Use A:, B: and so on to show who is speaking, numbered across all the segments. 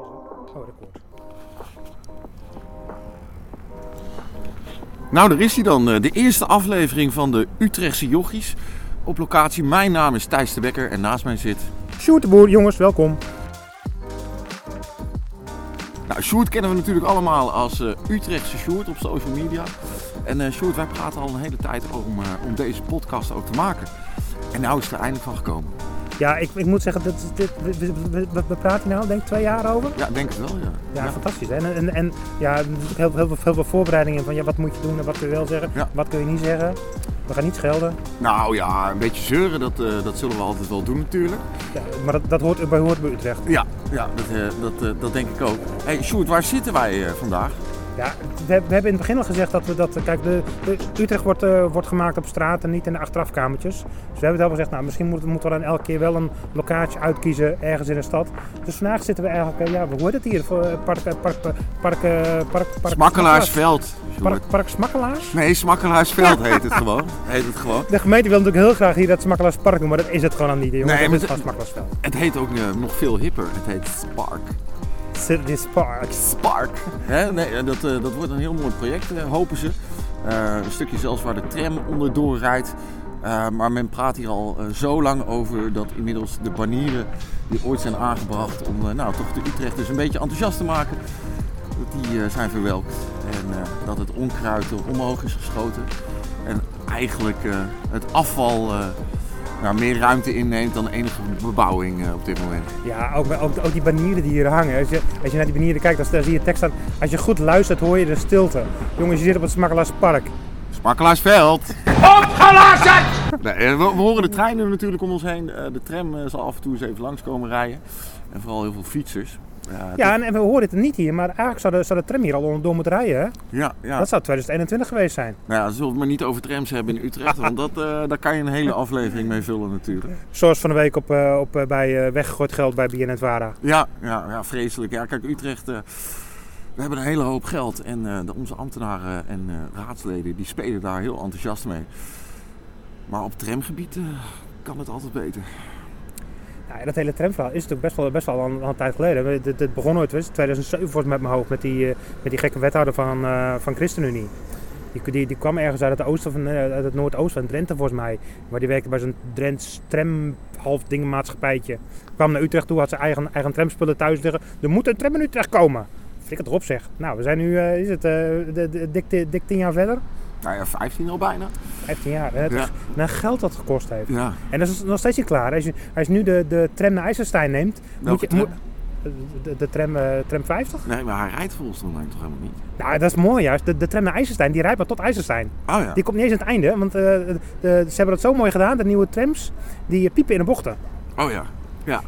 A: Oh, record.
B: Nou, daar is hij dan. eh, De eerste aflevering van de Utrechtse Jochies. Op locatie. Mijn naam is Thijs de Bekker en naast mij zit...
A: Sjoerd de Boer, jongens, welkom.
B: Nou, Sjoerd kennen we natuurlijk allemaal als eh, Utrechtse Sjoerd op social media. En eh Sjoerd, wij praten al een hele tijd om, eh, om deze podcast ook te maken. En nou is het er eindelijk van gekomen.
A: Ja, ik, ik moet zeggen, dit, dit, we, we, we, we- we praten hier nou, denk ik, twee jaar over.
B: Ja, ik denk het wel, ja.
A: Ja, fantastisch. hè? En, en, en ja, er zit ook heel, heel, veel- heel veel voorbereidingen van ja, wat moet je doen en wat kun je wel zeggen,
B: Ja.
A: wat kun je niet zeggen. We gaan niet schelden,
B: Nou ja, een beetje zeuren, dat, eh, dat zullen we altijd wel doen natuurlijk.
A: Ja, maar dat, dat hoort, bij, hoort bij Utrecht.
B: Ja, ja dat, eh, dat, eh, dat denk ik ook. hey, Sjoerd, waar zitten wij eh, vandaag?
A: Ja, we, we hebben in het begin al gezegd dat we dat. Kijk, de, de- Utrecht wordt, eh, wordt gemaakt op straat en niet in de achterafkamertjes. Dus we hebben het al gezegd, nou, misschien moeten, moeten we dan elke keer wel een locatie uitkiezen ergens in een stad. Dus vandaag zitten we eigenlijk, eh, ja, hoe hoort het hier? Voor, eh, Park, eh, park, eh, park, eh, park, park,
B: Smakkelaarsveld. Sjoerd.
A: Park, park Smakkelaars?
B: Nee, Smakkelaarsveld heet het gewoon. Heet het gewoon.
A: De gemeente wil natuurlijk heel graag hier dat Smakkelaarspark doen, maar dat is het gewoon dan niet, jongens.
B: Nee,
A: Nee,
B: maar
A: dat is
B: het-
A: gewoon Smakkelaarsveld.
B: Het heet ook eh, nog veel hipper. Het heet Spark.
A: City Spark.
B: Spark. Hè? Nee, dat, eh, dat wordt een heel mooi project, eh, hopen ze. Eh, een stukje zelfs waar de tram onderdoor rijdt. Eh, maar men praat hier al eh, zo lang over dat inmiddels de banieren die ooit zijn aangebracht om eh, nou, toch de Utrechters een beetje enthousiast te maken, dat die eh, zijn verwelkt. En eh, dat het onkruid er omhoog is geschoten. En eigenlijk eh, het afval eh, nou, meer ruimte inneemt dan enige bebouwing eh, op dit moment.
A: Ja, ook, ook, ook die banieren die hier hangen. Als je, als je naar die banieren kijkt, dan, dan zie je tekst staan. Als je goed luistert, hoor je de stilte. Jongens, je zit op het Smakkelaarspark.
B: Smakkelaarsveld. Opgeluisterd! Nee, eh, we, we horen de treinen natuurlijk om ons heen. Eh, De tram eh, zal af en toe eens even langskomen rijden. En vooral heel veel fietsers. Eh, Ja,
A: Ja, en, en we horen het niet hier, maar eigenlijk zou de, zou de tram hier al onderdoor moeten rijden. Hè?
B: ja, ja.
A: Dat zou 2021 geweest zijn.
B: Nou ja, zullen we het maar niet over trams hebben in Utrecht. Want dat, eh, daar kan je een hele aflevering mee vullen natuurlijk.
A: Zoals van de week op, eh, op, eh, bij eh, weggegooid geld bij BNNVARA.
B: Ja, ja, ja vreselijk. Ja, kijk, Utrecht... eh, we hebben een hele hoop geld. En eh, de, onze ambtenaren en eh, raadsleden die spelen daar heel enthousiast mee. Maar op tramgebied eh, kan het altijd beter.
A: Nou Ja, dat hele tramverhaal is natuurlijk best wel, best wel al een, al een tijd geleden. We- Dit, dit begon ooit, weet je, 2007 wordt met mijn hoofd, met die, eh, met die gekke wethouder van, eh, van ChristenUnie. Die, die, die kwam ergens uit het, oosten van, eh, uit het noordoosten, van Drenthe volgens mij. Maar die werkte bij zo'n Drents tram half dingenmaatschappijtje. Kwam naar Utrecht toe, had zijn eigen, eigen tramspullen thuis liggen. Er moet een tram in Utrecht komen. Flik het erop zeg. Nou, we zijn nu, eh, is het, eh, de- de- dik, dik tien jaar verder?
B: Nou ja, 15 al bijna.
A: 15 jaar. Hè?
B: Ja.
A: Nou, geld dat het gekost heeft.
B: Ja,
A: En dat is nog steeds niet klaar. Als je, als je nu de, de tram naar IJsselstein neemt,
B: welke
A: je-
B: tram?
A: moet- de, de tram, eh, tram 50?
B: Nee, maar hij rijdt volgens mij toch helemaal niet?
A: Nou, dat is mooi juist. De, de tram naar IJsselstein, die rijdt maar tot IJsselstein.
B: Oh ja.
A: Die komt niet eens aan het einde, want eh, de- ze hebben dat zo mooi gedaan. De nieuwe trams, die eh, piepen in de bochten.
B: Oh ja.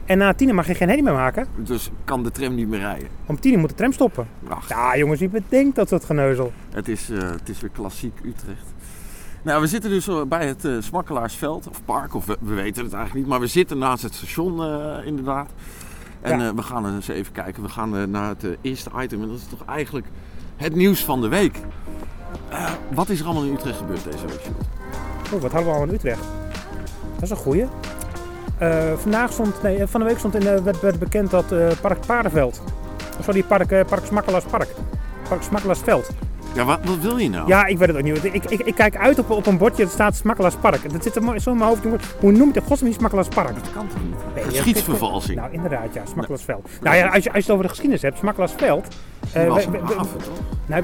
A: En na tienen mag je geen herrie meer maken.
B: Dus kan de tram niet meer rijden.
A: Om tienen moet de tram stoppen.
B: Ach,
A: Ja, jongens, wie bedenkt dat soort geneuzel?
B: het, is, eh, het is weer klassiek Utrecht. Nou, we zitten dus eh, bij het eh, Smakkelaarsveld, of park, of we, we weten het eigenlijk niet. Maar we zitten naast het station, eh, inderdaad. En
A: Ja.
B: eh, we gaan eens even kijken. We gaan eh, naar het eh, eerste item. En dat is toch eigenlijk het nieuws van de week. Eh, wat is er allemaal in Utrecht gebeurd deze week, Sjoerd?
A: Oh, wat hadden we allemaal in Utrecht? Dat is een goeie. Eh, vandaag stond, nee, eh, van de week stond in, eh, werd, werd bekend dat eh, Park Paardenveld. Oh, Sorry, Park, eh, park Smakkelaarspark. Park Smakkelaarsveld.
B: Ja, wat, wat wil je nou?
A: Ja, ik weet het ook niet. Ik, ik, ik kijk uit op, op een bordje, dat staat Smakkelaarspark. Dat zit er mooi zo in mijn hoofd, jongen. Hoe noemt het godsnaam niet Smakkelaarspark?
B: Dat kan toch niet?
A: Nee,
B: Geschiedsvervalsing.
A: Nou, inderdaad, ja, Smakkelaarsveld. Nou ja, als je, als je het over de geschiedenis hebt, Smakkelaarsveld. eh,
B: Die was
A: we-
B: een
A: we-
B: haven, toch?
A: nou,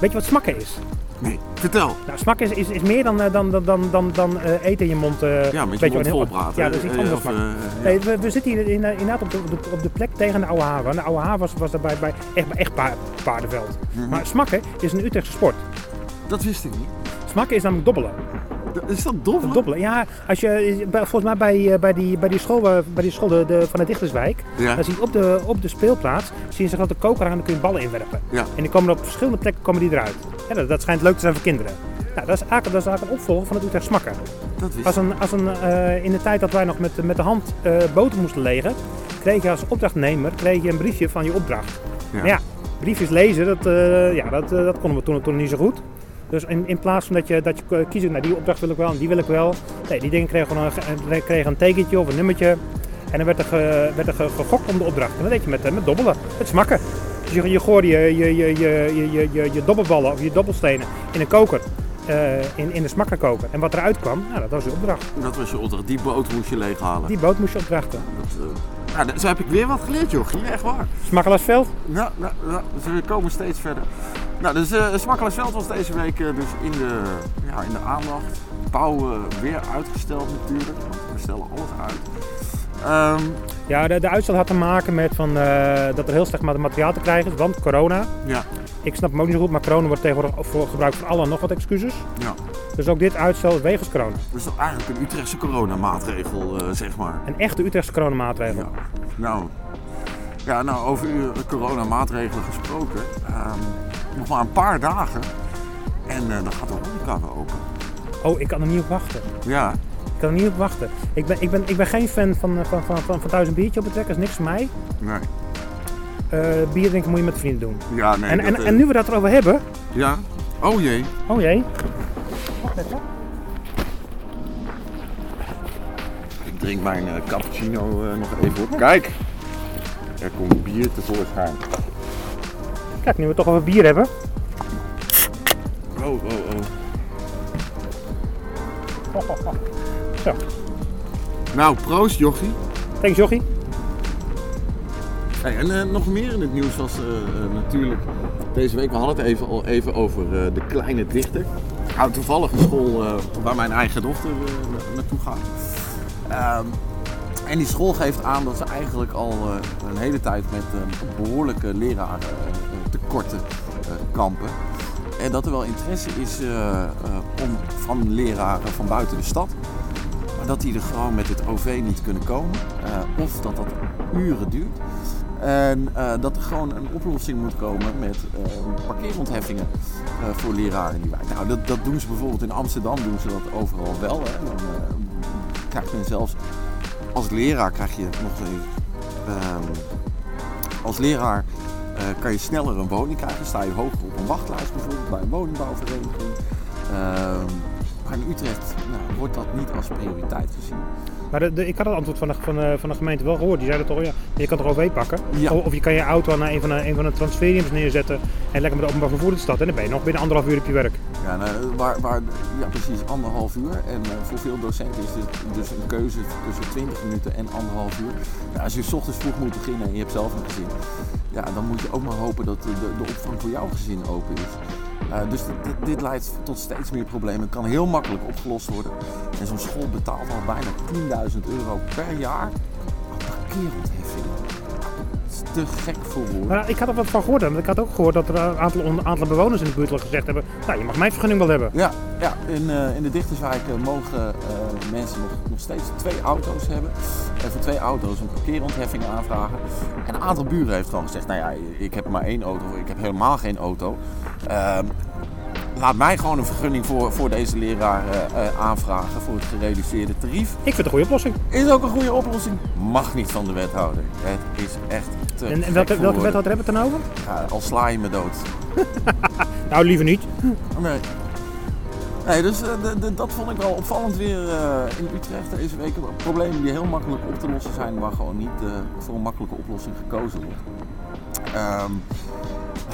A: weet je wat smakken is?
B: Nee, vertel.
A: Nou, smakken is, is, is meer dan, eh, dan, dan, dan, dan, dan eh, eten in je mond. eh,
B: Ja, met
A: weet
B: je mond
A: wel,
B: vol
A: heel-
B: praten.
A: Ja, dat is iets
B: Eh,
A: anders.
B: of,
A: smakken.
B: eh, ja.
A: Nee, we, we zitten hier in- inderdaad op de, op, de, op de plek tegen de Oude Haven. De Oude Haven was, was daarbij bij echt, echt pa- paardenveld.
B: Mhm.
A: Maar smakken is een Utrechtse sport.
B: Dat wist ik niet.
A: Smakken is namelijk dobbelen.
B: Dat- Is dat dom?
A: Het Dobbelen. Ja, als je, bij- volgens mij bij, eh, bij, die, bij die school, waar- bij die school de, de- van de Dichterswijk,
B: Ja.
A: dan zie je op de, op de speelplaats zie je zo'n grote koker hangen en dan kun je ballen inwerpen.
B: Ja.
A: En die komen er op verschillende plekken komen die eruit. Ja, dat, dat schijnt leuk te zijn voor kinderen. Nou, dat is eigenlijk, dat is eigenlijk een opvolger van het Utrecht smakken.
B: Dat wist
A: Als
B: ik.
A: een, als een, eh, in de tijd dat wij nog met, met de hand eh boten moesten legen, kreeg je als opdrachtnemer kreeg je een briefje van je opdracht.
B: Ja.
A: Maar ja, briefjes lezen, dat, eh, ja, dat, eh, dat konden we toen, toen niet zo goed. Dus in, in plaats van dat je, dat je kiest, nou die opdracht wil ik wel en die wil ik wel. Nee, die dingen kregen gewoon een, ge- eh, kregen een tekentje of een nummertje. En dan werd er, ge- werd er ge- gegokt om de opdracht. En dat deed je met, eh, met dobbelen, met smakken. Dus je, je gooide je, je, je, je, je, je, je, je dobbelballen of je dobbelstenen in een koker. eh, in, in de smakkerkoker. En wat eruit kwam, nou, dat was je opdracht.
B: Dat was je opdracht. Die boot moest je leeghalen.
A: Die boot moest je opdrachten.
B: Dat, eh, nou, daar- zo heb ik weer wat geleerd, joh. Ging echt waar.
A: Smakkelaarsveld,
B: Nou, nou, nou, dus we komen steeds verder. Nou, dus eh Smakkersveld was deze week eh, dus in de, ja, in de aandacht. Bouw eh, weer uitgesteld natuurlijk. want We stellen alles uit. Ehm,
A: Ja, de, de uitstel had te maken met van, eh, dat er heel slecht ma- materiaal te krijgen is, want corona.
B: ja,
A: Ik snap hem ook niet zo goed, maar corona wordt tegenwoordig voor, gebruikt voor alle en nog wat excuses.
B: ja.
A: Dus ook dit uitstel is wegens corona.
B: Dus dat is eigenlijk een Utrechtse coronamaatregel, eh zeg maar.
A: Een echte Utrechtse coronamaatregel.
B: Ja. Nou, ja, nou, over uw coronamaatregelen gesproken. ehm, nog maar een paar dagen. En eh, dan gaat de horeca weer open.
A: Oh, ik kan er niet op wachten.
B: Ja,
A: Ik kan er niet op wachten. Ik ben, ik ben, ik ben geen fan van, eh, van, van, van, van thuis een biertje op het trek, dat is niks voor mij.
B: nee.
A: Eh, bier drinken moet je met vrienden doen.
B: Ja, nee.
A: en,
B: dat,
A: en,
B: eh,
A: en nu we dat erover hebben.
B: Ja. Oh jee.
A: Oh jee. Wacht even.
B: Ik drink mijn eh, cappuccino eh, nog even op. Kijk, er komt bier tevoorschijn.
A: Kijk, nu we het toch over bier hebben.
B: Oh, oh, oh.
A: Zo.
B: Nou, proost jochie.
A: Thanks jochie.
B: Hey, en eh, nog meer in het nieuws was eh, eh, natuurlijk deze week, we hadden het even, al even over eh, de kleine dichter. Nou, toevallig een school eh, waar mijn eigen dochter eh, na- naartoe gaat. Ehm, en die school geeft aan dat ze eigenlijk al eh, een hele tijd met eh, behoorlijke leraren eh, tekorten eh, kampen. En dat er wel interesse is eh, eh, om van leraren van buiten de stad. Maar dat die er gewoon met het OV niet kunnen komen. eh, of dat dat uren duurt. En eh, dat er gewoon een oplossing moet komen met eh, parkeerontheffingen eh, voor leraren in die wijk. Nou, dat, dat doen ze bijvoorbeeld in Amsterdam, doen ze dat overal wel. Hè. Dan eh, krijg je zelfs als leraar krijg je nog een. ehm, als leraar eh, kan je sneller een woning krijgen. Sta je hoger op een wachtlijst bijvoorbeeld bij een woningbouwvereniging. Ehm, maar in Utrecht nou, wordt dat niet als prioriteit gezien.
A: Maar de, de- ik had het antwoord van de, van, de, van de gemeente wel gehoord. Die zeiden toch, oh ja, je kan toch OV pakken?
B: Ja.
A: Of, of je kan je auto aan een van de, een van de transferiums neerzetten en lekker met de openbaar vervoer in de stad. En dan ben je nog binnen anderhalf uur op je werk.
B: Ja, nou, waar, waar, ja, precies anderhalf uur. En eh, voor veel docenten is dit dus een keuze tussen 20 minuten en anderhalf uur. Ja, als je s ochtends vroeg moet beginnen en je hebt zelf een gezin, ja, dan moet je ook maar hopen dat de, de opvang voor jouw gezin open is. Eh, dus dit, dit, dit leidt tot steeds meer problemen. Het kan heel makkelijk opgelost worden. En zo'n school betaalt al bijna 10.000 euro per jaar aan parkeerontheffing. Dat is te gek voor woorden.
A: Maar ik had er wat van gehoord. Want ik had ook gehoord dat er een aantal, een aantal bewoners in de buurt al gezegd hebben, nou, je mag mijn vergunning wel hebben.
B: Ja, ja in, eh, in de dichterswijken mogen eh, mensen nog, nog steeds twee auto's hebben. En voor twee auto's een parkeerontheffing aanvragen. En een aantal buren heeft gewoon gezegd, nou ja, ik heb maar één auto, ik heb helemaal geen auto. Ehm, laat mij gewoon een vergunning voor, voor deze leraar eh, eh, aanvragen voor het gereduceerde tarief.
A: Ik vind het een goede oplossing.
B: Is ook een goede oplossing. Mag niet van de wethouder. Het is echt te
A: En, en
B: gek
A: welke,
B: voor
A: welke
B: woorden.
A: wethouder hebben we het dan over?
B: Ja, al sla je me dood.
A: Nou, liever niet.
B: Nee. Nee, dus eh, de- de- dat vond ik wel opvallend weer eh, in Utrecht deze week. Problemen die heel makkelijk op te lossen zijn, waar gewoon niet eh, voor een makkelijke oplossing gekozen wordt. Ehm,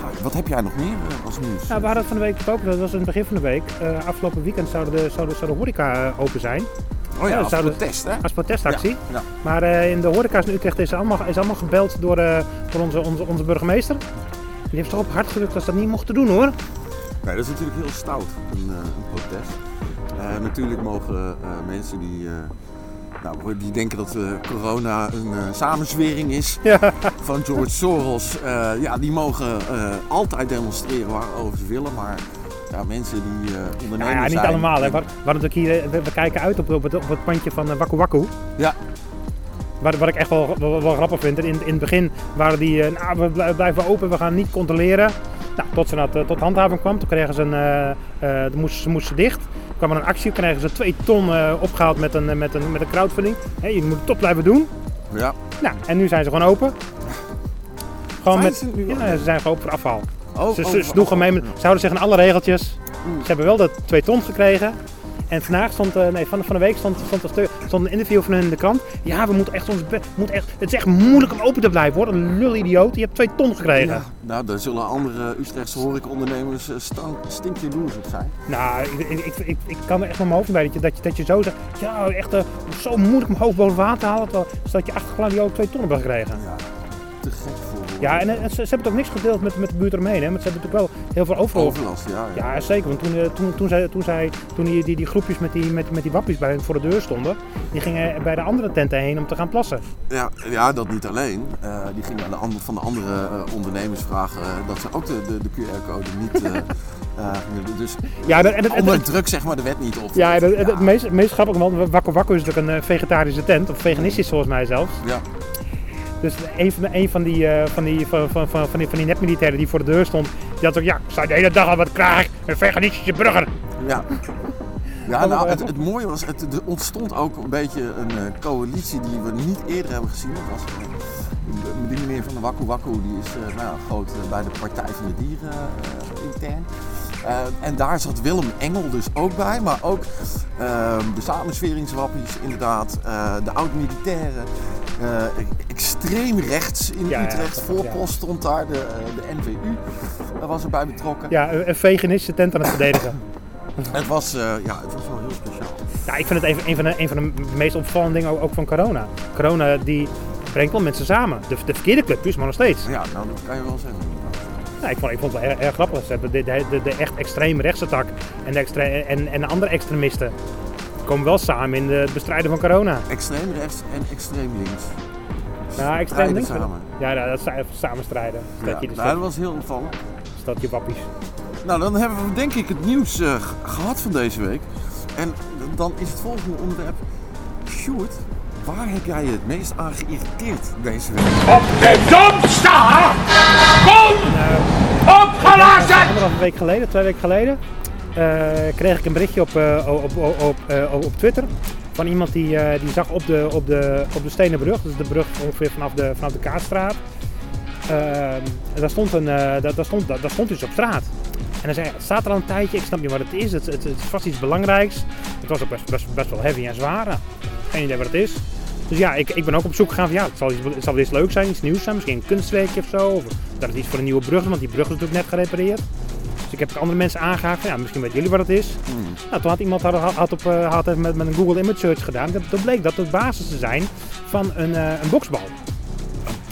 B: nou, wat heb jij nog meer eh, als nieuws?
A: Nou, we hadden het van de week ook, dat was in het begin van de week. Eh, afgelopen weekend zou de, zou, de, zou de horeca eh, open zijn
B: oh ja,
A: ja,
B: als
A: zouden-
B: protest, hè?
A: als protestactie.
B: Ja, ja.
A: Maar eh, in de horeca's in Utrecht is allemaal, is allemaal gebeld door, eh, door onze, onze, onze burgemeester. Die heeft toch op hart gedrukt dat ze dat niet mochten doen hoor.
B: Nee, dat is natuurlijk heel stout, een, eh, een protest. Eh, natuurlijk mogen eh, mensen die, eh, nou, die denken dat eh, corona een eh, samenzwering is
A: Ja.
B: van George Soros, eh, ja, die mogen eh, altijd demonstreren waarover ze willen. Maar ja, mensen die eh ondernemen
A: Nou ja, niet
B: zijn-
A: allemaal. Hè. Waar, waar het ook hier, eh, we, we kijken uit op, op, het, op het pandje van eh, Waku Waku.
B: Ja,
A: Wat, wat ik echt wel, wel, wel grappig vind. In, in het begin waren die, eh, nou, we blij- blijven open, we gaan niet controleren. Nou, tot ze naar het, eh, tot handhaving kwam, toen kregen ze een, eh, eh, toen moesten, ze moesten dicht. Toen kwam er een actie, kregen ze twee ton eh, opgehaald met een, eh, met een, met een crowdfunding. Hé, je moet het toch blijven doen.
B: ja.
A: Nou, en nu zijn ze gewoon open. Gewoon
B: Zijn
A: met,
B: ze nu
A: ja,
B: open?
A: ze zijn gewoon open voor afval.
B: Oh, Mm.
A: ze,
B: oh,
A: ze, ze doen
B: oh,
A: gewoon mee, met- ze houden zich aan alle regeltjes. Ze hebben wel dat 2 ton gekregen. En vandaag stond, eh, nee, van, van de week stond, stond, een stuk- stond een interview van hun in de krant. Ja, we moeten echt ons be- moet echt, het is echt moeilijk om open te blijven hoor. Een lul idioot, je hebt twee ton gekregen.
B: Ja, nou, daar zullen andere Utrechtse horecaondernemers eh, stank- stinkje loers op zijn.
A: Nou, ik, ik, ik, ik, ik kan er echt van mijn hoofd bij dat je, dat je, dat je zo zegt. Ja, echt eh, zo moeilijk om hoofd boven water te halen. Terwijl zodat je achtergelaten die ook twee tonnen hebt gekregen.
B: Ja, te gek voor woorden.
A: Ja, en, eh, ze, ze hebben het ook niks gedeeld met, met de buurt eromheen. Hè? Maar ze hebben natuurlijk wel heel veel overal.
B: Overlast, ja. ja.
A: Ja, zeker. Want toen, eh, toen, toen, zij, toen, zij, toen die, die, die groepjes met die, met, met die wappies bij, voor de deur stonden, die gingen bij de andere tenten heen om te gaan plassen.
B: Ja, ja, dat niet alleen. Eh, die gingen aan de ander- van de andere eh, ondernemers vragen eh, dat ze ook de, de, de QR-code niet... eh, eh, gingen- dus
A: Ja, en, en, en-
B: onder druk zeg maar de wet niet op.
A: ja, en- en- het meest, het meest grappige, want Wakko Wakko is natuurlijk een eh, vegetarische tent, of veganistisch volgens mij zelfs.
B: Ja.
A: Dus een van, de- een van die, eh, van die, van, van, van, van die, van die netmilitairen die voor de deur stond, die had ook, ja, ik zou de hele dag al wat krijgen, een veganistische burger.
B: Ja. Ja, nou, het, het mooie was, het, er ontstond ook een beetje een eh, coalitie die we niet eerder hebben gezien. Dat was, eh, die meneer van de Wakku Wakku, die is eh, nou, ja, groot eh, bij de Partij van de Dieren eh, intern. Eh, en daar zat Willem Engel dus ook bij, maar ook eh, de samensweringswappies inderdaad, eh, de oud-militairen. eh, extreem rechts in
A: Ja, ja,
B: Utrecht,
A: ja.
B: voorpost stond daar, de, eh, de NVU eh, was erbij betrokken.
A: Ja, een een veganistische tent aan het verdedigen.
B: Het, was, eh, ja, het was wel heel speciaal.
A: Ja, ik vind het een, een, van de, een van de meest opvallende dingen ook, ook van corona. Corona die brengt wel mensen samen. De, de verkeerde clubjes, maar nog steeds.
B: Ja, nou dat kan je wel zeggen.
A: Ja, ik, vond, ik vond het wel erg, erg grappig. Ze hebben de, de, de, de echt extreem rechtse tak en de, extre- en, en de andere extremisten komen wel samen in de- het bestrijden van corona.
B: Extreem rechts en extreem links.
A: Ja, extreem
B: Strijden
A: links.
B: samen.
A: Ja, nou, dat zijn samen strijden.
B: Ja,
A: Dat je,
B: nou, dat was heel opvallend.
A: dat je wappies.
B: Nou, dan hebben we denk ik het nieuws eh, g- gehad van deze week. En d- dan is het volgende onderwerp. Sjoerd, waar heb jij je het meest aan geïrriteerd deze week?
C: Op de domsta! Kom! Opgelassen!
A: Anderhalve week geleden, twee weken geleden, eh, kreeg ik een berichtje op, eh, op, op, op, eh, op Twitter. Van iemand die, eh, die zag op de, op, de, op de Stenen Brug, dus de brug ongeveer vanaf de, vanaf de Kaatstraat. Ehm, en daar stond, een, eh, daar, daar stond, daar, daar stond iets op straat. En hij zei, het staat er al een tijdje, ik snap niet wat het is, het, het, het is vast iets belangrijks. Het was ook best, best, best wel heavy en zwaar. Nou, Geen idee wat het is. Dus ja, ik, ik ben ook op zoek gegaan van ja, het zal, iets, het zal wel iets leuks zijn, iets nieuws zijn, misschien een kunstwerkje of zo. Of dat het iets voor een nieuwe brug is, want die brug is natuurlijk net gerepareerd. Dus ik heb ook andere mensen aangehaakt van ja, misschien weten jullie wat het is. Nou, toen had iemand had, had op, eh, had even met, met een Google Image Search gedaan. Dat, dat bleek dat de basis te zijn van een, eh, een boksbal.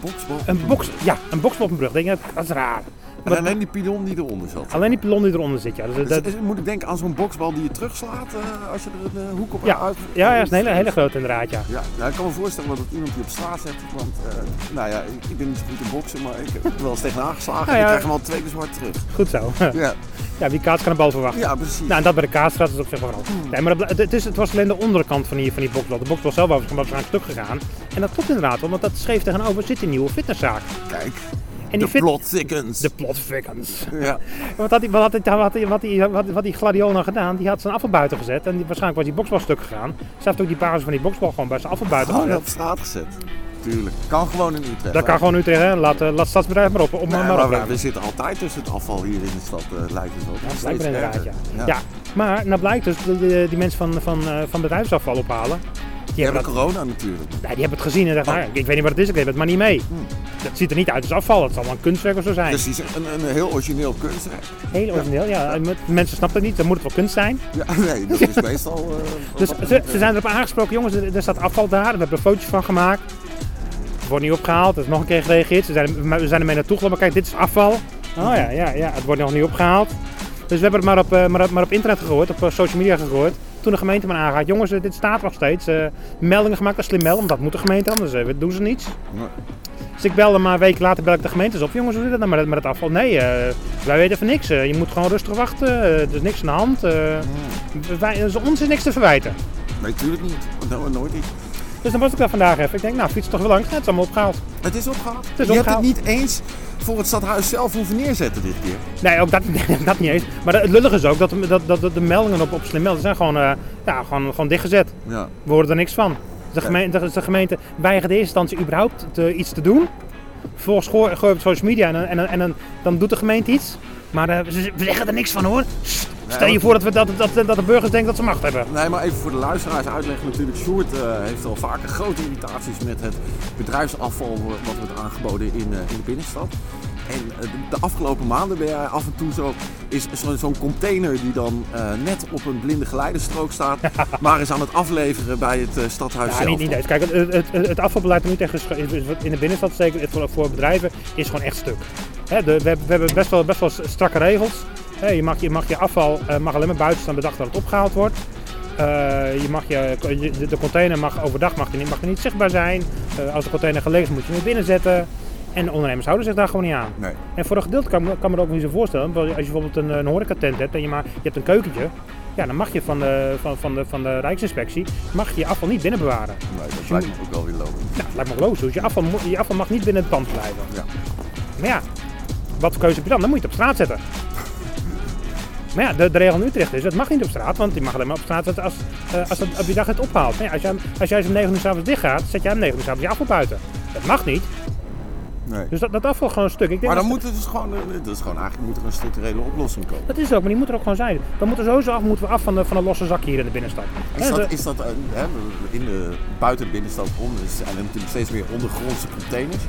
B: Boksbal.
A: Een boks, ja, een boksbal op een brug. Ik Denk, dat is raar.
B: En alleen die pilon die eronder zat.
A: Alleen die pilon die eronder zit, ja. Dus,
B: Dus,
A: dat,
B: dus moet ik denken aan zo'n boksbal die je terugslaat eh, als je er een eh, hoek op
A: ja,
B: uit...
A: ja, ja, is een hele, hele grote inderdaad, ja.
B: Ja, nou, ik kan me voorstellen dat het iemand die op straat zet. Want eh, nou ja, ik, ik ben niet zo goed in boksen, maar ik heb er wel eens tegenaan geslagen.
A: Nou
B: En ik
A: ja.
B: krijg hem al twee keer zwart terug.
A: Goed zo.
B: Ja,
A: Ja, wie kaats kan een bal verwachten.
B: ja Hmm. precies.
A: Nou, en dat bij de kaasstraat is op zich wel van alles. Nee, maar dat- het, het, is, het was alleen de onderkant van die, van die boksbal. De boksbal zelf was was aan het stuk gegaan. En dat klopt inderdaad, wel, want dat schreef tegenover zit een nieuwe fitnesszaak.
B: Kijk,
A: En
B: de
A: fit-
B: plot thickens.
A: De Oh, plot vegans.
B: Ja.
A: Wat had die, wat had die, wat had die, wat die, wat, wat die gladiool nou gedaan? Die had zijn afval buiten gezet. En die, waarschijnlijk was die boksbal stuk gegaan. Ze heeft ook die basis van die boksbal gewoon bij zijn afval buiten
B: Gewoon
A: gezet.
B: op straat gezet. Tuurlijk. Kan gewoon in Utrecht.
A: Dat kan gewoon Utrecht, hè? Laat, eh, laat het stadsbedrijf maar op. op
B: Nee,
A: maar
B: maar we,
A: opruimen.
B: we zitten altijd tussen het afval hier in de stad, eh, lijkt het wel.
A: Ja,
B: Steeds
A: blijkbaar inderdaad, ja.
B: erger.
A: ja. maar nou blijkt dus dat de- die mensen van, van, eh, van bedrijfsafval ophalen. Die
B: We hebben
A: hebben, dat,
B: corona natuurlijk.
A: ja, die hebben het gezien en dachten,
B: Oh.
A: nou, ik weet niet wat het is, ik neem het maar niet mee. Dat ziet er niet uit als afval, dat zal wel een kunstwerk of zo zijn.
B: Precies, Dus een, een heel origineel kunstwerk.
A: Heel origineel, Dus- ja. En met- Mensen snappen het niet, dan moet het wel kunst zijn.
B: Ja, nee, dat is meestal... eh,
A: Dus
B: wat-
A: ze, ze zijn erop aangesproken, jongens, er, er staat afval daar, we hebben er foto's van gemaakt. Het wordt niet opgehaald, er is nog een keer gereageerd. Ze zijn, maar we zijn ermee naartoe gelopen, maar kijk, dit is afval. Oh ja, ja, ja, het wordt nog niet opgehaald. Dus we hebben het maar op, eh, maar, op- maar op internet gegooid, op eh, social media gegooid. Toen de gemeente maar aangaat, jongens, eh, dit staat er nog steeds. eh, meldingen gemaakt als slimmel, want dat moet de gemeente anders, eh, doen ze niets.
B: Nee.
A: Dus ik belde maar een week later bel ik de gemeentes op. Jongens, hoe zit het nou met, het- met het afval? Nee, eh, wij weten van niks. eh, je moet gewoon rustig wachten. eh, er is niks aan de hand. eh, wij, eh, ons is niks te verwijten.
B: Nee, natuurlijk niet. No, nooit iets.
A: Dus dan was ik daar vandaag even. Ik denk, nou, fiets toch wel langs. Net is allemaal opgehaald.
B: Het is opgehaald.
A: is
B: je
A: opgehaald.
B: hebt het niet eens voor het stadhuis zelf hoeven neerzetten dit keer.
A: Nee, ook dat, dat niet eens. Maar het lullige is ook dat, dat, dat, dat de meldingen op, op Slimmel zijn gewoon, eh, ja, gewoon, gewoon dichtgezet.
B: Ja.
A: We horen er niks van. De gemeente, de, de gemeente weigert in eerste instantie überhaupt te- iets te doen. Vervolgens gooi gooi je op social media en, en, en, en dan doet de gemeente iets. Maar eh, ze, ze- we zeggen er niks van hoor. Sst, Stel je
B: want-
A: voor dat, we, dat, dat, dat de burgers denken dat ze macht hebben.
B: Nee, maar even voor de luisteraars uitleggen natuurlijk. Sjoerd eh, heeft al vaker grote irritaties met het bedrijfsafval wat wordt aangeboden in, eh, in de binnenstad. En eh, de- de afgelopen maanden ben jij af en toe zo, is zo- zo'n container die dan eh, net op een blinde geleidenstrook staat, maar is aan het afleveren bij het eh, stadhuis
A: Ja,
B: zelf.
A: niet, niet eens. Kijk, het, het, het- het afvalbeleid dat nu tegen is ge- is- is wat in de binnenstad zeker is voor, voor bedrijven is gewoon echt stuk. Hè, de, we, hebben- we hebben best wel, best wel strakke regels. Hè, je, mag, je mag je afval eh, mag alleen maar buiten staan de dag dat het opgehaald wordt. Eh, je mag je, je- de- de container mag overdag mag er niet, mag er niet zichtbaar zijn. Eh, als de container gelegen is, moet je hem weer binnenzetten. En de ondernemers houden zich daar gewoon niet aan.
B: Nee.
A: En voor een gedeelte kan, ik- kan me dat ook niet zo voorstellen. Want Als je bijvoorbeeld een, een horecatent hebt en je, maar, je hebt een keukentje. Ja, dan mag je van de, van, van de, van de Rijksinspectie mag je, je afval niet binnen bewaren.
B: nee, dat lijkt me ook wel weer lopen.
A: Nou, dat lijkt me logisch. Dus je afval, mo- je afval mag niet binnen het pand blijven.
B: Ja.
A: Maar ja, wat voor keuze heb je dan? Dan moet je het op straat zetten. Maar ja, de, de regel in Utrecht is, dat mag niet op straat, want die mag alleen maar op straat zetten als, eh, als dat op je dag het ophaalt. Maar ja, als jij, als jij om 9 uur s'avonds dicht gaat, zet jij om 9 uur s'avonds je afval buiten. Dat mag niet.
B: Nee.
A: Dus dat, dat afval gewoon een stuk. Ik denk
B: Maar dan
A: dat-
B: moet het dus gewoon, eh, dat is gewoon eigenlijk moet er een structurele oplossing komen.
A: Dat is het ook, maar die moet er ook gewoon zijn. We moeten sowieso af, moeten we af van de, van de losse zak hier in de binnenstad.
B: Is
A: Hè,
B: dat,
A: de-
B: is dat eh, hè, in de, buiten de binnenstad om, dus zijn er natuurlijk steeds meer ondergrondse containers.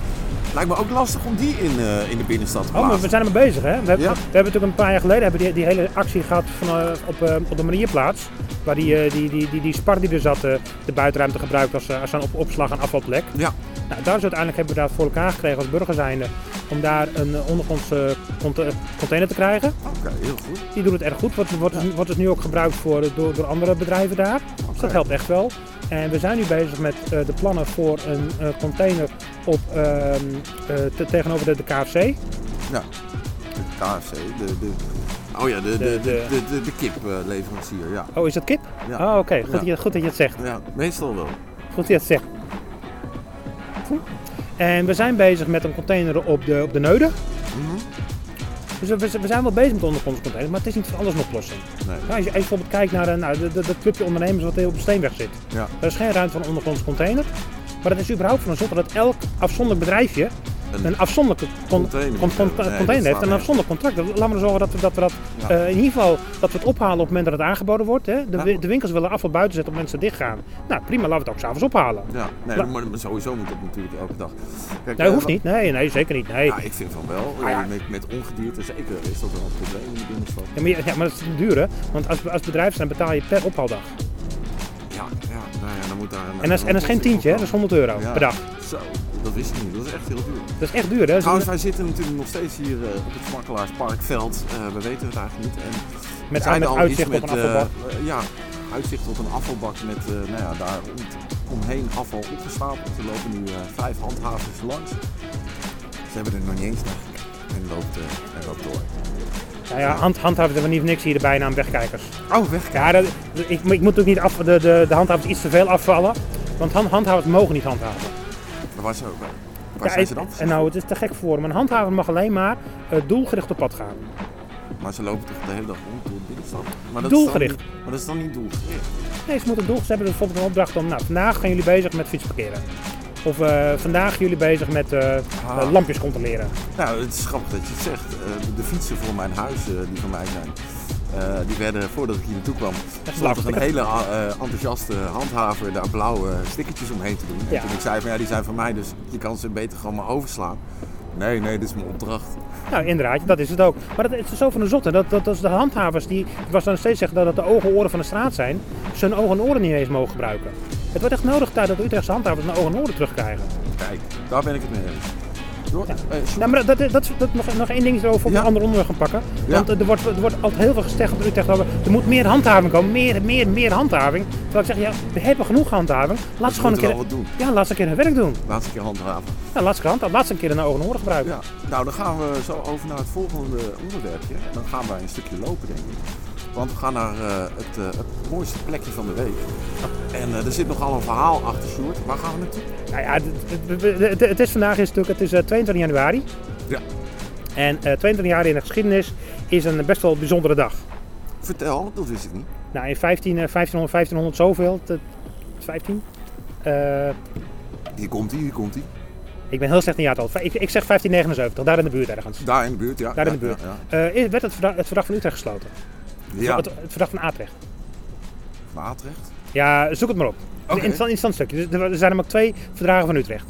B: Lijkt me ook lastig om die in, eh, in de binnenstad te
A: Oh, maar we
B: plaatsen.
A: zijn ermee bezig, hè? We, hebben-
B: Ja.
A: we hebben natuurlijk een paar jaar geleden hebben die, die hele actie gehad van, eh, op, eh, op de Marieplaats. Waar die, eh, die, die, die, die spar die er zat, eh, de buitenruimte gebruikt als, eh, als een op, opslag- en afvalplek.
B: Ja,
A: Nou, daar is uiteindelijk hebben we dat voor elkaar gekregen als burger zijnde. Om daar een eh, ondergrondse cont- eh, container te krijgen.
B: oké, heel goed.
A: Die doen het erg goed. Wordt, wordt, wordt dus nu ook gebruikt voor, eh, door, door andere bedrijven daar. Dus dat helpt echt wel. En we zijn nu bezig met eh, de plannen voor een eh, container op, ehm, eh, te- tegenover de, de KFC.
B: Ja. De KFC, de, de, oh ja, de, de, de,
A: De-
B: de, de, de kipleverancier, ja.
A: Oh, is dat kip?
B: Ja.
A: Oh, oké. Goed,
B: Ja.
A: dat je- goed dat je het zegt.
B: Ja, meestal wel.
A: Goed dat je het zegt. En we zijn bezig met een container op de, op de Neude.
B: Mhm.
A: Dus we- we, we zijn wel bezig met ondergrondscontainers, maar het is niet voor alles een oplossing.
B: Nee.
A: Nou, als, je, als je bijvoorbeeld kijkt naar eh, nou, de- de- dat clubje ondernemers wat hier op de Steenweg zit.
B: Ja.
A: Er is geen ruimte voor een ondergrondscontainer. Maar het is überhaupt van een soort dat elk afzonderlijk bedrijfje
B: Een
A: een, afzonderlijke con- con-
B: container
A: con-
B: moet hebben. Nee,
A: container
B: dat
A: heeft. en Een
B: staat
A: afzonderlijk contract. Dat- Laten we zorgen dat we dat, we dat
B: Ja.
A: eh, in ieder geval dat we het ophalen op het moment dat het aangeboden wordt. Hè. De,
B: Ja.
A: wi- de winkels willen afval buiten zetten op mensen dicht gaan. Nou prima, laten we het ook s'avonds ophalen.
B: Ja, nee,
A: La-
B: maar sowieso moet dat natuurlijk elke dag. Kijk,
A: Nee,
B: eh,
A: Nou. hoeft
B: wa-
A: niet. Nee, nee zeker niet. Nee.
B: Ja, ik vind van wel.
A: ja.
B: Eh, Met, met ongedierte zeker is dat wel een probleem in de binnenstad.
A: Ja, maar, je- ja, maar dat is te duur hè. Want als, als bedrijf zijn betaal je per ophaaldag.
B: Ja, ja, nou ja, dan moet daar... een-
A: En dat is, en dat is geen tientje, hè. dat is 100 euro
B: Ja.
A: per dag.
B: Zo, dat wist ik niet. Dat is echt heel duur.
A: Dat is echt duur hè. Dat is-
B: Trouwens, wij zitten natuurlijk nog steeds hier eh, op het Makkelaarsparkveld. Eh, we weten het eigenlijk niet. En we
A: Met-
B: zijn
A: met
B: al
A: uitzicht
B: iets
A: op een afvalbak.
B: eh, eh, ja, uitzicht op een afvalbak met eh, nou ja, daar om, omheen afval opgestapeld. Er lopen nu eh, vijf handhavers langs. Ze hebben er nog niet eens naar gekeken. En loopt, eh, en loopt door.
A: Ja, ja, hand, handhavers hebben niet voor niks hier de bijnaam wegkijkers.
B: Oh, weg.
A: Ja, dat, ik, ik moet ook niet af, de, de, de handhavers iets te veel afvallen. Want hand, handhavers mogen niet handhaven.
B: Waar, zo, waar, waar
A: Ja,
B: zijn
A: en-
B: ze dan?
A: en nou, het is te gek voor hem. Een handhaver mag alleen maar eh, doelgericht op pad gaan.
B: Maar ze lopen toch de hele dag rond door de binnenstad? Maar dat Is
A: Doelgericht.
B: dan niet, maar dat is dan niet doelgericht.
A: Nee, ze moeten doelgericht. Ze hebben bijvoorbeeld een opdracht om, nou, vandaag gaan jullie bezig met fietsparkeren. Of eh, vandaag gaan jullie bezig met eh,
B: Ah.
A: lampjes controleren.
B: Nou, het is grappig dat je het zegt. Eh, de fietsen voor mijn huis, eh, die van mij zijn, eh, die werden voordat ik hier naartoe kwam, stond er een
A: blauw.
B: hele eh, enthousiaste handhaver daar blauwe eh, stickertjes omheen te doen.
A: Ja.
B: En toen ik zei van ja, die zijn van mij, dus je kan ze beter gewoon maar overslaan. Nee, nee, dit is mijn opdracht.
A: Nou, inderdaad, dat is het ook. Maar dat het is zo van de zotte. Dat, dat, dat is de handhavers die, was dan steeds zeggen dat het de ogen en oren van de straat zijn, ze hun ogen en oren niet eens mogen gebruiken. Het wordt echt nodig daar dat de Utrechtse handhavers hun ogen en oren terugkrijgen.
B: Kijk, daar ben ik het mee eens. Jo- eh, Sjoerd,
A: Nou, maar dat, dat, dat, dat- nog, nog één ding erover op
B: Ja.
A: een ander onderwerp gaan pakken.
B: Ja.
A: Want eh, er, wordt, er wordt altijd heel veel gezegd op Utrecht over, er moet meer handhaving komen, meer, meer, meer handhaving. Terwijl ik zeg, ja, we hebben genoeg handhaving. Laat ze gewoon een
B: moeten
A: keer...
B: wel wat doen.
A: Ja, laat ze een keer hun werk doen.
B: Laatste keer handhaven.
A: Ja, laat ze een handhaven, laat ze een keer hun ogen en oren gebruiken.
B: Ja, nou dan gaan we zo over naar het volgende onderwerpje. En dan gaan wij een stukje lopen, denk ik. Want we gaan naar eh, het, eh, het mooiste plekje van de week. En eh, er zit nogal een verhaal achter, Sjoerd. Waar gaan we naartoe?
A: Nou ja, het, het- het- het is vandaag is natuurlijk, het is eh, 22 januari.
B: Ja.
A: En eh 22 jaar in de geschiedenis is een best wel bijzondere dag.
B: Vertel, dat wist ik niet.
A: Nou, in 15, eh, 1500, 1500 zoveel, te- 15? Eh,
B: Hier komt hij, hier komt hij.
A: ik ben heel slecht in jaartal. Ik, ik zeg 1579, daar in de buurt ergens.
B: Daar in de buurt, ja.
A: Daar in
B: Ja,
A: de buurt.
B: ja, Ah. ja.
A: Eh, werd het verdrag, het verdrag van Utrecht gesloten.
B: Ja.
A: Het, het verdrag van Atrecht.
B: Van Utrecht?
A: Ja, zoek het maar op.
B: Oké.
A: Een interessant, interessant stukje. Dus er er zijn er maar twee verdragen van Utrecht.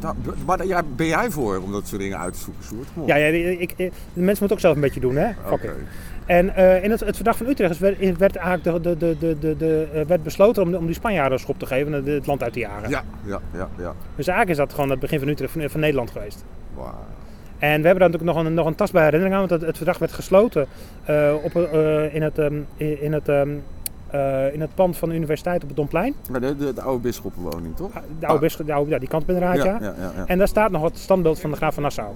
B: Nou, b- maar ja, ben jij voor om dat soort dingen uit te zoeken, Sjoerd? Kom op.
A: Ja, ja ik, ik- de mensen moeten het ook zelf een beetje doen, hè? Fuck
B: Oké.
A: it. En eh, in het, het verdrag van Utrecht is- werd, werd eigenlijk de, de, de, de, de, de, eh, werd besloten om, de- om die Spanjaarden een schop te geven en de- het land uit te jagen.
B: Ja, ja, ja, ja.
A: Dus eigenlijk is dat gewoon het begin van Utrecht van, van Nederland geweest.
B: Wauw.
A: En we hebben daar natuurlijk nog een, nog een tastbare herinnering aan, want het, het verdrag werd gesloten eh, op, eh, in, het, ehm, in, in het, ehm, eh, in het pand van de universiteit op het Domplein.
B: Maar de, de, de oude bisschoppenwoning, toch?
A: De oude, bisschop- de oude ja, die kant op inderdaad, ja.
B: Ah. ja, ja, ja, ja.
A: En daar staat nog het standbeeld van de graaf van Nassau.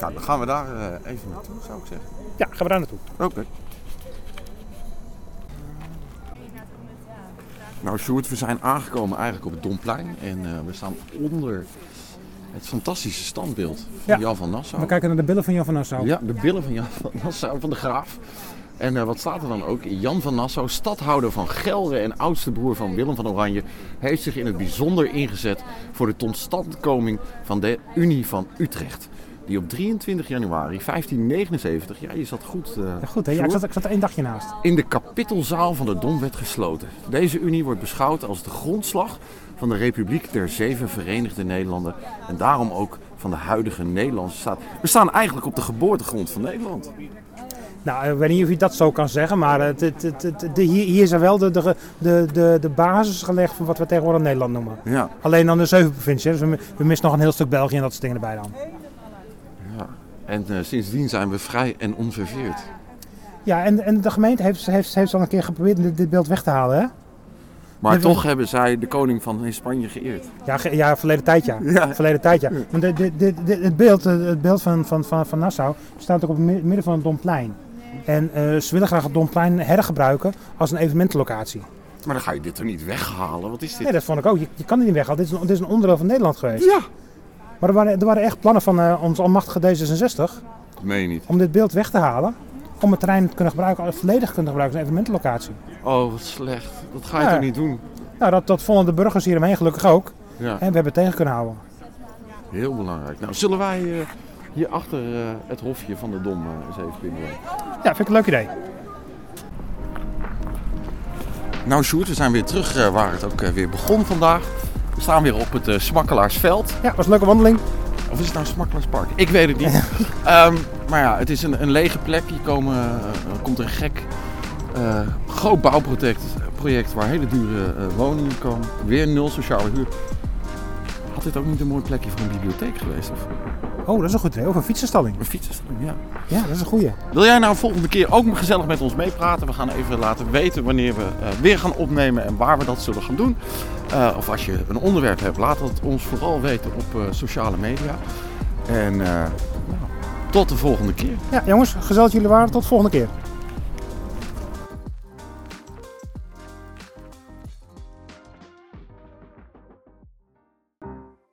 B: Nou, dan gaan we daar eh, even naartoe, zou ik zeggen.
A: Ja, gaan we daar naartoe.
B: Oké. Nou, Sjoerd, we zijn aangekomen eigenlijk op het Domplein. En eh, we staan onder het fantastische standbeeld van
A: Ja.
B: Jan van Nassau.
A: kijken naar de billen van Jan van Nassau.
B: Ja, de billen van Jan van Nassau, van de Graaf. En eh, wat staat er dan ook? Jan van Nassau, stadhouder van Gelre en oudste broer van Willem van Oranje, heeft zich in het bijzonder ingezet voor de totstandkoming van de Unie van Utrecht. Die op 23 januari 1579, ja, je zat goed. eh, Sjoerd
A: ik zat er één dagje naast.
B: in de kapittelzaal van de Dom werd gesloten. Deze unie wordt beschouwd als de grondslag van de Republiek der Zeven Verenigde Nederlanden en daarom ook van de huidige Nederlandse staat. We staan eigenlijk op de geboortegrond van Nederland.
A: Nou, ik weet niet of je dat zo kan zeggen, maar het, het, het, het- de, hier, hier zijn wel de, de, de, de, de basis gelegd van wat we tegenwoordig Nederland noemen.
B: Ja,
A: Alleen dan de zeven provincies, hè, dus we, mi- we missen nog een heel stuk België en dat soort dingen erbij dan.
B: ja. En eh, sindsdien zijn we vrij en onverveerd.
A: Ja, en, en de gemeente heeft, heeft, heeft al een keer geprobeerd dit, dit beeld weg te halen, hè?
B: Maar
A: Nee,
B: toch hebben zij de koning van Spanje geëerd.
A: Ja, ge- ja verleden tijd ja.
B: Ja.
A: Verleden tijd ja. Want dit, dit, dit, dit- het beeld, eh, het beeld van, van, van, van Nassau staat ook op het mi- midden van het Domplein. En eh, ze willen graag het Domplein hergebruiken als een evenementenlocatie.
B: Maar dan ga je dit toch niet weghalen? Wat is dit?
A: Nee, dat vond ik ook. Je, je kan het niet weghalen. Dit is, een, dit is een onderdeel van Nederland geweest.
B: Ja.
A: Maar er waren, er waren echt plannen van eh, ons almachtige D66
B: Dat meen je niet.
A: om dit beeld weg te halen. Om het terrein te kunnen gebruiken, volledig te kunnen gebruiken als een evenementenlocatie.
B: Oh, wat slecht. Dat ga je
A: Ja.
B: toch niet doen?
A: Nou, dat, dat vonden de burgers hier omheen gelukkig ook.
B: Ja,
A: En we hebben het tegen kunnen houden.
B: heel belangrijk. Nou, zullen wij eh, hier achter eh, het hofje van de Dom eh, eens even binnenlopen?
A: Ja, vind ik een leuk idee.
B: Nou Sjoerd, we zijn weer terug eh, waar het ook eh, weer begon vandaag. We staan weer op het eh, Smakkelaarsveld.
A: Ja, was een leuke wandeling.
B: Of is het nou Smakkelaarspark? Ik weet het niet. Ehm, maar ja, het is een, een lege plek. Hier komen, eh, er komt een gek eh, groot bouwproject project waar hele dure eh, woningen komen. Weer nul sociale huur. Had dit ook niet een mooi plekje voor een bibliotheek geweest? Of
A: Oh, dat is een goed idee. Of een fietsenstalling.
B: een fietsenstalling? Ja.
A: Ja, dat is een goeie.
B: Wil jij nou volgende keer ook gezellig met ons meepraten? We gaan even laten weten wanneer we eh, weer gaan opnemen en waar we dat zullen gaan doen. Eh, of als je een onderwerp hebt, laat het ons vooral weten op eh, sociale media. En eh, nou, tot de volgende keer.
A: Ja, jongens, gezellig dat jullie waren. Tot de volgende keer.